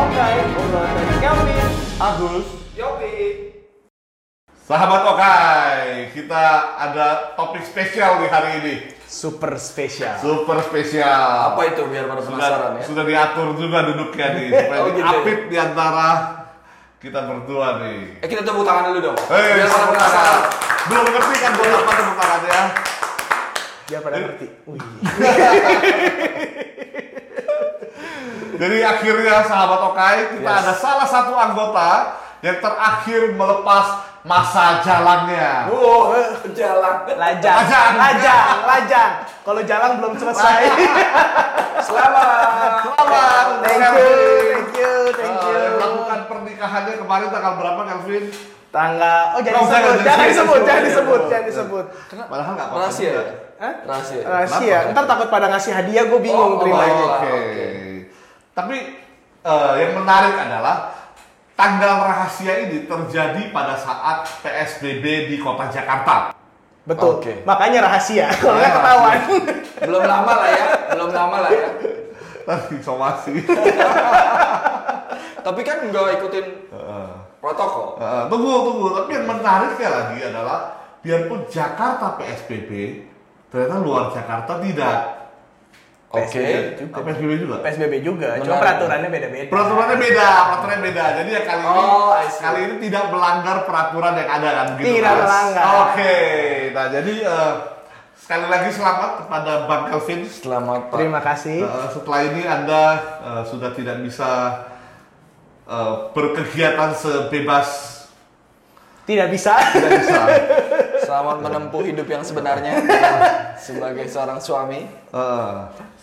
Obrolan dari Kelvin, Agus, Yopi. sahabat Okai, kita ada topik spesial nih hari ini. Super spesial. Super spesial. Apa itu biar pada Sudah, penasaran ya? sudah diatur juga duduknya nih, supaya Oh, gitu ya? apit di antara kita berdua nih. Eh kita tepuk tangan dulu dong. Hei, biar pada tepuk penasaran. tangan. Belum ngerti kan buat apa tepuk tangan ya? Biar pada ngerti. Wih. Jadi akhirnya sahabat Okai, kita Yes. ada salah satu anggota yang terakhir melepas masa jalannya. Wow, jalan. Lajang. Lajang. Lajang. Lajang. Kalau jalan belum selesai. Selamat. Selamat, thank you, thank you, thank Eh, you. lakukan pernikahannya kemarin tanggal berapa Kelvin? Tanggal. Oh jangan Oh, disebut, jangan, jangan jangan disebut, disebut, jangan jangan disebut, disebut. jangan disebut. Padahal nggak apa-apa Rahasia. juga. ya? Hah? Rahasia. Rahasia. Kenapa? Ntar takut pada ngasih hadiah, gue bingung Oh, Oke. terimanya. Oke. Tapi eh, yang menarik adalah tanggal rahasia ini terjadi pada saat PSBB di Kota Jakarta. Betul. Oke. Makanya rahasia. Kalau Ya, nggak ketahuan. Belum lama lah ya. Belum lama lah ya. Tadi somasi. Tapi kan nggak ikutin Heeh. protokol. Eh, tunggu, tunggu. Tapi yang menariknya lagi adalah biarpun Jakarta PSBB, ternyata luar Jakarta tidak. Oke. PSBB juga. PSBB juga, cuma Menarik. peraturannya beda-beda. Peraturannya beda, peraturannya beda. Jadi ya kali ini Oh, I see. kali ini tidak melanggar peraturan yang ada kan gitu. Tidak kan? melanggar. Oke. Nah, jadi eh, sekali lagi selamat kepada Bang Kelvin. Selamat Pak. Terima kasih. Eh, setelah ini Anda eh, sudah tidak bisa eh, berkegiatan sebebas Tidak bisa. tidak bisa. Selamat menempuh hidup yang sebenarnya sebagai seorang suami. Eh,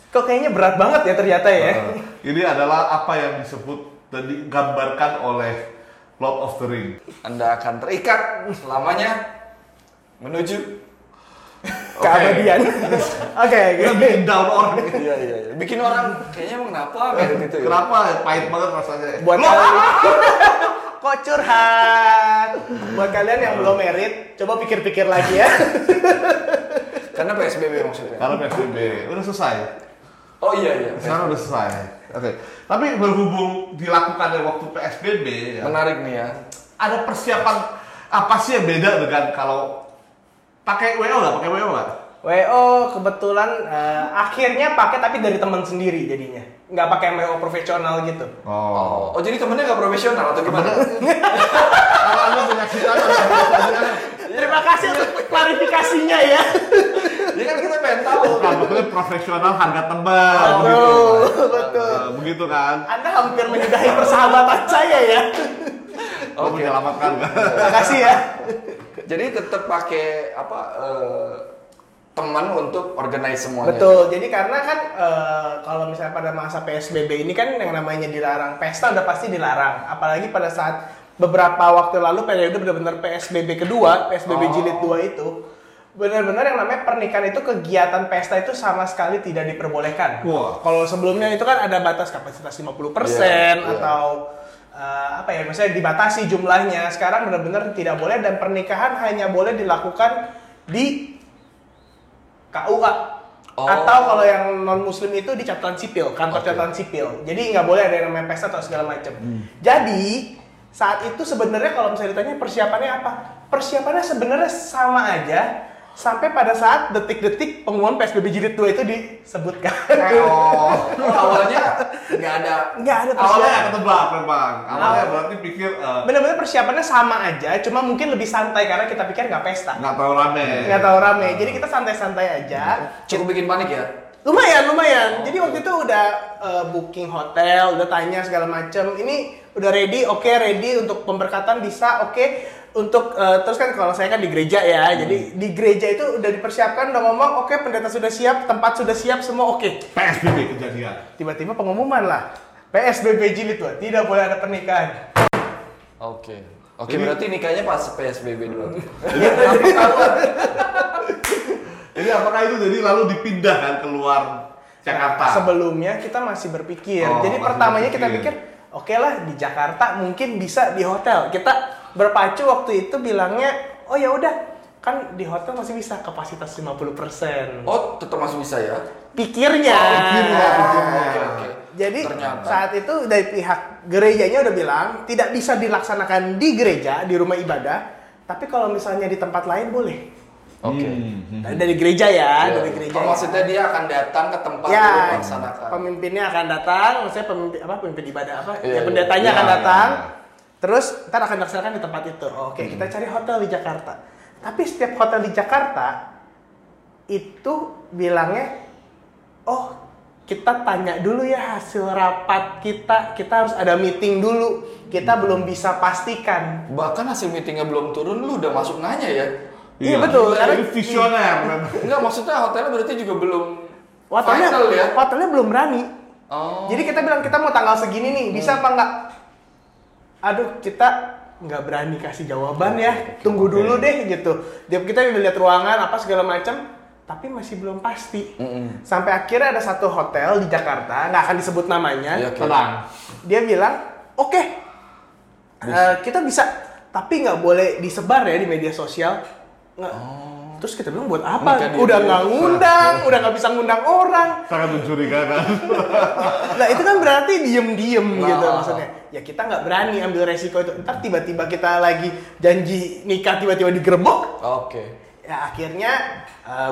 Kok kayaknya berat banget ya ternyata ya. eh, ini adalah apa yang disebut dan digambarkan oleh Lord of the Ring. Anda akan terikat selamanya menuju Keabadian. Oke, Kita oke. bikin down orang. Iya iya. iya. Bikin orang kayaknya emang kenapa kayak gitu ya? Kenapa pahit banget rasanya? buat Loh, kalian kok curhat buat kalian yang belum merit coba pikir-pikir lagi ya Karena PSBB maksudnya. Karena PSBB udah selesai. Oh iya iya. Sekarang udah selesai. Oke. Tapi berhubung dilakukannya waktu PSBB, ya, Menarik nih ya. ada persiapan apa sih yang beda dengan kalau pakai WO nggak? Pakai WO nggak? WO kebetulan eh, akhirnya pakai tapi dari teman sendiri jadinya nggak pakai WO profesional gitu Oh. Oh, jadi temennya nggak profesional atau gimana? Kalau anda punya cita terima kasih untuk klarifikasinya ya Jadi kan kita pengen tahu. Rambutnya profesional harga tebal begitu. Oh, betul betul Eh, begitu kan? anda hampir menyudahi persahabatan saya ya Lo Oke. menyelamatkan kan? makasih ya Jadi tetap pakai apa eh, teman untuk organize semuanya. Betul. Jadi karena kan eh, kalau misalnya pada masa PSBB ini kan yang namanya dilarang pesta udah pasti dilarang. Apalagi pada saat beberapa waktu lalu periode benar-benar PSBB kedua, PSBB Oh. jilid 2 itu benar-benar yang namanya pernikahan itu kegiatan pesta itu sama sekali tidak diperbolehkan. Wah. Kalau sebelumnya itu kan ada batas kapasitas 50% Iya, iya. atau eh, apa ya misalnya dibatasi jumlahnya. Sekarang benar-benar tidak boleh dan pernikahan hanya boleh dilakukan di KUA Oh. atau kalau yang non muslim itu di catatan sipil kantor catatan sipil jadi nggak boleh ada yang namanya pesta atau segala macam Hmm. jadi saat itu sebenarnya kalau misalnya ditanya persiapannya apa persiapannya sebenarnya sama aja sampai pada saat detik-detik pengumuman PSBB jilid 2 itu disebutkan Oh. Oh, awalnya nggak ada. nggak ada Awalnya nggak persiapan ketebak memang. Awalnya berarti pikir eh, bener-bener persiapannya sama aja cuma mungkin lebih santai karena kita pikir nggak pesta nggak tahu rame. nggak tahu rame jadi kita santai-santai aja Iya. Cukup bikin panik ya. lumayan lumayan jadi waktu itu udah uh, booking hotel udah tanya segala macem ini udah ready oke ready untuk pemberkatan bisa oke untuk uh, terus kan kalau saya kan di gereja ya jadi di gereja itu udah dipersiapkan udah ngomong oke pendeta sudah siap tempat sudah siap semua oke PSBB kejadian. tiba-tiba pengumuman lah PSBB jilid dua tidak boleh ada pernikahan Oke. Oke, Jadi- berarti nikahnya pas PSBB Hmm. dulu. Jadi apakah itu jadi lalu dipindahkan keluar Jakarta? sebelumnya kita masih berpikir Oh, jadi masih pertamanya kita pikir berpikir. oke lah di Jakarta mungkin bisa di hotel kita berpacu waktu itu bilangnya oh ya udah kan di hotel masih bisa kapasitas 50% Oh, tetap masih bisa ya. pikirnya Iya, Oh, pikirnya, pikirnya. Ah. Oke, oke. Jadi Ternyata. saat itu dari pihak gerejanya udah bilang tidak bisa dilaksanakan di gereja, di rumah ibadah, tapi kalau misalnya di tempat lain boleh. Oke. Mhm. Dari gereja ya, Iya. dari gereja. Hmm. Oh, ya. maksudnya dia akan datang ke tempat ya, untuk melaksanakan. pemimpinnya akan datang, maksudnya pemimpin apa pemimpin ibadah apa? Iya, ya iya. Oh, pendetanya Iya, akan iya, datang. iya. Terus ntar akan dilaksanakan di tempat itu. Oke, kita cari hotel di Jakarta. Tapi setiap hotel di Jakarta itu bilangnya oh kita tanya dulu ya hasil rapat kita, kita harus ada meeting dulu. Kita Hmm. belum bisa pastikan. Bahkan hasil meetingnya belum turun, lu udah masuk nanya ya? Iya, betul, Jadi karena- visioner kan. memang. Enggak, maksudnya hotelnya berarti juga belum Hotelnya, final ya? hotelnya belum berani. Oh, Hmm. Jadi kita bilang kita mau tanggal segini nih, bisa apa nggak? Aduh, kita nggak berani kasih jawaban ya. Tunggu dulu deh gitu. Dia kita udah lihat ruangan apa segala macam, tapi masih belum pasti. Sampai akhirnya ada satu hotel di Jakarta, nggak akan disebut namanya. Iya. Oke. Tenang. Dia bilang, oke, eh, kita bisa, tapi nggak boleh disebar ya di media sosial. Nggak. Terus kita bilang buat Ini kan apa? Oh. dia Udah dulu. nggak ngundang, udah nggak bisa ngundang orang Sangat mencurigakan. nah itu kan berarti diem-diem Nah. gitu maksudnya ya kita nggak berani ambil resiko itu ntar tiba-tiba kita lagi janji nikah tiba-tiba digerebek oke. ya akhirnya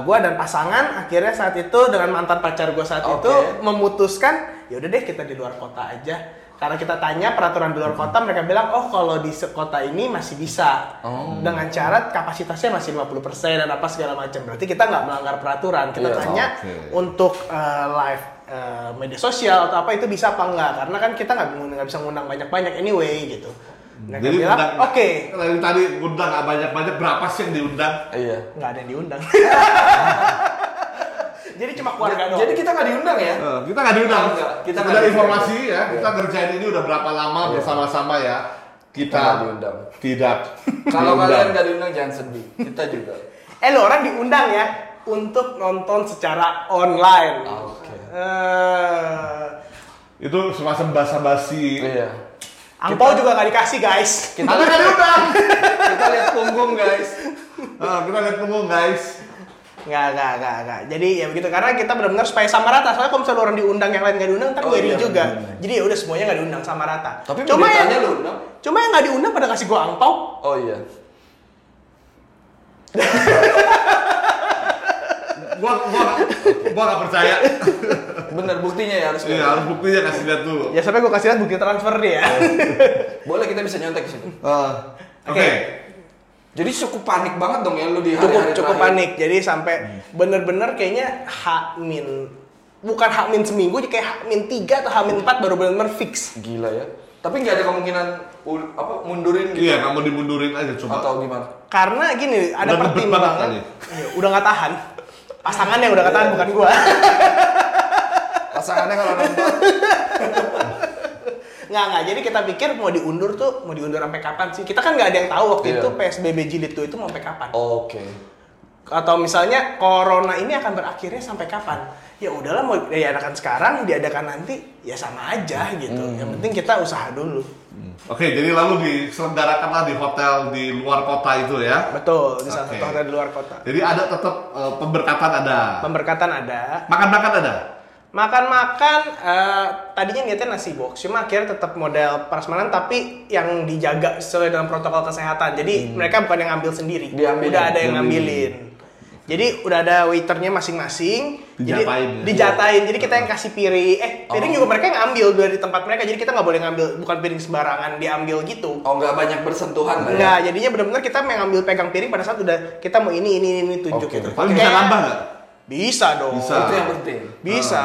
gue dan pasangan akhirnya saat itu dengan mantan pacar gue saat Oke. itu memutuskan ya udah deh kita di luar kota aja karena kita tanya peraturan di luar Hmm. kota mereka bilang oh kalau di se- kota ini masih bisa Oh. dengan syarat kapasitasnya masih 50% dan apa segala macam berarti kita nggak melanggar peraturan kita Iya, tanya oke. untuk eh, live eh, media sosial atau apa itu bisa apa enggak karena kan kita nggak nggak bisa ngundang banyak-banyak anyway gitu Nah, mereka Jadi bilang undang- oke Dari tadi undang nggak banyak-banyak berapa sih yang diundang? Iya. nggak ada yang diundang. Jadi cuma keluarga doang. Jadi kita nggak diundang ya? Eh, kita nggak diundang. Kita nggak- kita Kita nggak diundang. informasi ya. Iya. Kita kerjain ini udah berapa lama bersama-sama ya. Kita nggak diundang. tidak. Kalau diundang. kalian nggak diundang jangan sedih. Kita juga. Eh lo orang diundang ya untuk nonton secara online. Ah, Oke. Eh, itu semacam basa-basi. Iya. angpau juga nggak dikasih guys. Kita Anda nggak diundang. kita lihat punggung guys. Eh, kita lihat punggung guys. Nggak nggak nggak nggak. Jadi ya begitu karena kita benar-benar supaya sama rata. Soalnya kalau misalnya lo orang diundang yang lain nggak diundang, ntar Oh, gue iri iya, juga. bener. Jadi ya udah semuanya nggak diundang sama rata. Tapi cuma yang pendetanya lo undang? cuma yang nggak diundang pada kasih gue angpau. Oh iya. Gua gua gua nggak percaya. Bener buktinya ya harus. Iya lihat. harus buktinya kasih lihat dulu. Ya sampai gue kasih lihat bukti transfer dia. Iya. Boleh kita bisa nyontek ke situ. Eh, Oke. Oke. Jadi cukup panik banget dong ya lu di cukup hari-hari cukup terakhir. Hmm. panik jadi sampai bener-bener kayaknya H min bukan H min seminggu jadi kayak H min tiga atau H min empat baru bener-bener fix Gila ya. Tapi nggak ada kemungkinan un- apa mundurin gitu Iya kamu dimundurin aja coba. atau gimana? karena gini ada Udah ribet pertimbangan banget Iya, udah nggak tahan pasangan yang udah nggak tahan bukan gua Iya. Pasangannya kalau nonton nggak nggak jadi kita pikir mau diundur tuh mau diundur sampai kapan sih kita kan nggak ada yang tahu waktu Iya. itu PSBB jilid tuh itu mau sampai kapan Oke. atau misalnya corona ini akan berakhirnya sampai kapan ya udahlah mau diadakan sekarang diadakan nanti ya sama aja gitu Hmm. yang penting kita usaha dulu Oke, jadi lalu diselenggarakanlah di hotel di luar kota itu ya. Betul, di salah Oke. satu hotel di luar kota. Jadi ada tetap eh, pemberkatan ada. Pemberkatan ada. Makan-makan ada. Makan-makan eh, tadinya niatnya nasi box, cuma akhirnya tetap model prasmanan tapi yang dijaga sesuai dengan protokol kesehatan. Jadi mereka bukan yang ngambil sendiri. Diambilin. Udah ada yang Hmm. Diambilin. ngambilin. Jadi udah ada waiternya masing-masing. Jadi- Dijatain Oh. ya? dijatain. Jadi kita yang kasih piring. Eh, piring juga mereka yang ambil dari tempat mereka. Jadi kita nggak boleh ngambil bukan piring sembarangan diambil gitu. Oh nggak banyak Iya. bersentuhan lah ya. Enggak, jadinya benar-benar kita mengambil pegang piring pada saat udah kita mau ini ini ini, ini tunjuk Oke. gitu. Tapi bisa Kayak- nambah nggak? Bisa dong. ya, Bisa. Itu yang penting. Bisa.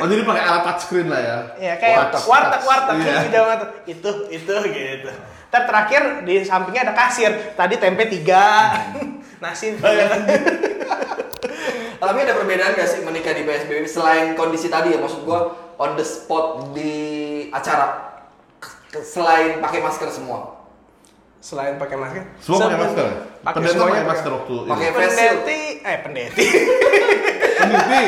Oh jadi pakai alat touchscreen lah ya? Ya kayak Warteg. warteg warteg Iya. gitu banget. Itu itu gitu. Ter terakhir di sampingnya ada kasir. Tadi tempe tiga, nasi. Tapi ada perbedaan nggak sih menikah di PSBB selain kondisi tadi ya maksud gua on the spot di acara Ke- ke- selain pakai masker semua. Selain pakai masker. Semua pakai seben- masker. Pakai Pendeta semuanya pakai masker waktu Pakai itu. face shield. Pendeti, eh pendeti. Peneliti.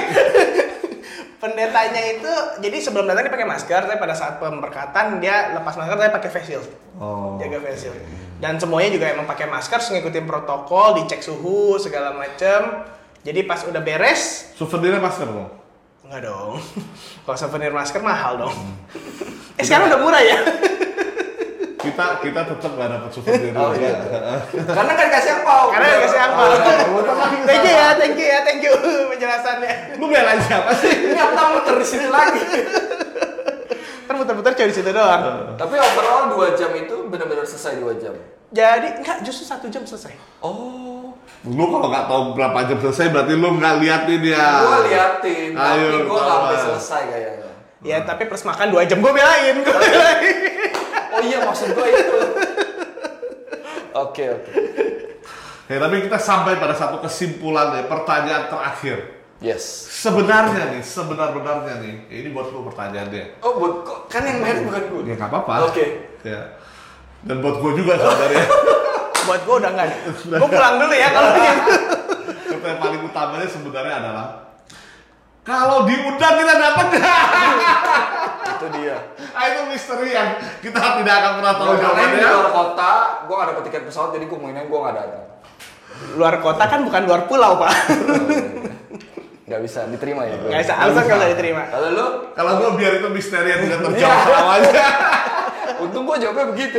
Pendetanya itu jadi sebelum datang dia pakai masker, tapi pada saat pemberkatan dia lepas masker tapi pakai face shield. Oh. Jaga face shield. Dan semuanya juga emang pakai masker, terus ngikutin protokol, dicek suhu segala macem. Jadi pas udah beres, Souvenirnya masker dong. Nggak Enggak dong. Kalau souvenir masker mahal dong. eh sekarang udah murah ya? Kita kita tetap nggak dapat souvenir. Oh, iya. Karena kan kasih angpau. Karena yang kasih angpau. Oh, iya. thank you ya, thank you ya, thank you penjelasannya. Lu belain siapa sih? Ini angpau muter di Ah, sini lagi. Ntar muter-muter cari situ doang. Tapi overall 2 jam itu benar-benar selesai 2 jam. Jadi enggak justru satu jam selesai. Oh. Lu kalau nggak tahu berapa jam selesai berarti lu nggak lihat ini ya. Gua liatin, tapi Ayo, gua nggak sampai kawan. selesai kayaknya. Ya tapi plus makan dua jam gue belain, gue belain. Oh iya maksud gua itu. Oke oke. Ya, tapi kita sampai pada satu kesimpulan ya, pertanyaan terakhir. Yes. Sebenarnya nih, sebenar-benarnya nih, ya ini buat lu pertanyaannya. Oh buat kok kan yang main bukan gua. Ya nggak apa-apa. Oke. Ya. Dan buat gue juga sebenarnya. Buat gue udah enggak. Gue pulang dulu ya kalau gitu. Tapi yang paling utamanya sebenarnya adalah kalau diundang kita dapat Itu dia. Ah, itu misteri yang kita tidak akan pernah tahu Kalau karena ini di jawabannya. luar kota, gua nggak dapet tiket pesawat jadi gua mainnya gua nggak datang. Luar kota kan bukan luar pulau pak. Hmm. Gak bisa diterima ya. gua. Gak bisa, alasan kalau nggak diterima. Kalau lu, Kalau gue biar itu misteri yang tidak terjawab Iya. selamanya. untung gua jawabnya begitu.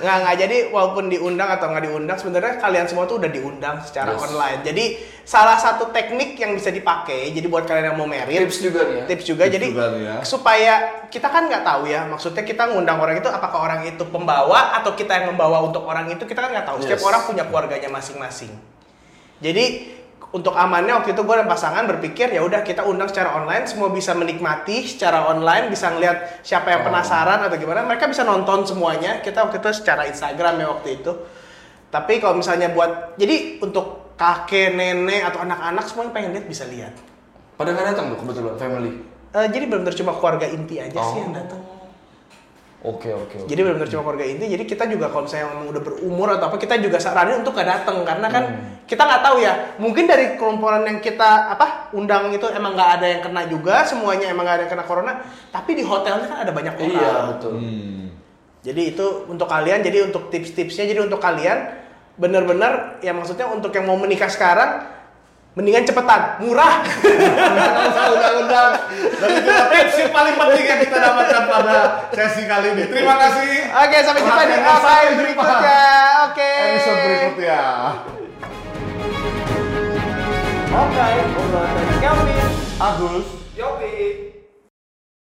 Nggak, nggak. Jadi walaupun diundang atau nggak diundang, sebenarnya kalian semua tuh udah diundang secara Yes. online. Jadi salah satu teknik yang bisa dipakai, jadi buat kalian yang mau merit, Tips juga nih ya. tips juga. Tips jadi juga nih ya. supaya kita kan nggak tahu ya, maksudnya kita ngundang orang itu apakah orang itu pembawa atau kita yang membawa untuk orang itu kita kan nggak tahu. Setiap Yes. orang punya keluarganya masing-masing. Jadi untuk amannya waktu itu gue dan pasangan berpikir ya udah kita undang secara online semua bisa menikmati secara online bisa ngeliat siapa yang Oh. penasaran atau gimana mereka bisa nonton semuanya kita waktu itu secara Instagram ya waktu itu tapi kalau misalnya buat jadi untuk kakek nenek atau anak-anak semua yang pengen lihat bisa lihat Pada nggak datang tuh kebetulan family. Eh, jadi benar-benar cuma keluarga inti aja sih Oh. yang datang Oke oke. oke. jadi benar-benar cuma keluarga inti jadi kita juga kalau misalnya memang udah berumur atau apa kita juga saranin untuk gak datang karena kan Hmm. kita nggak tahu ya mungkin dari kelompokan yang kita apa undang itu emang nggak ada yang kena juga semuanya emang nggak ada yang kena corona tapi di hotelnya kan ada banyak orang Iya betul. jadi itu untuk kalian jadi untuk tips-tipsnya jadi untuk kalian benar-benar ya maksudnya untuk yang mau menikah sekarang mendingan cepetan murah Undang-undang. Dan itu tips yang paling penting yang kita dapatkan pada sesi kali ini. Terima kasih. oke sampai jumpa di Sampai apa jumpa. berikutnya oke Episode berikutnya. oke obrolan dari Kelvin. Agus. Yopi.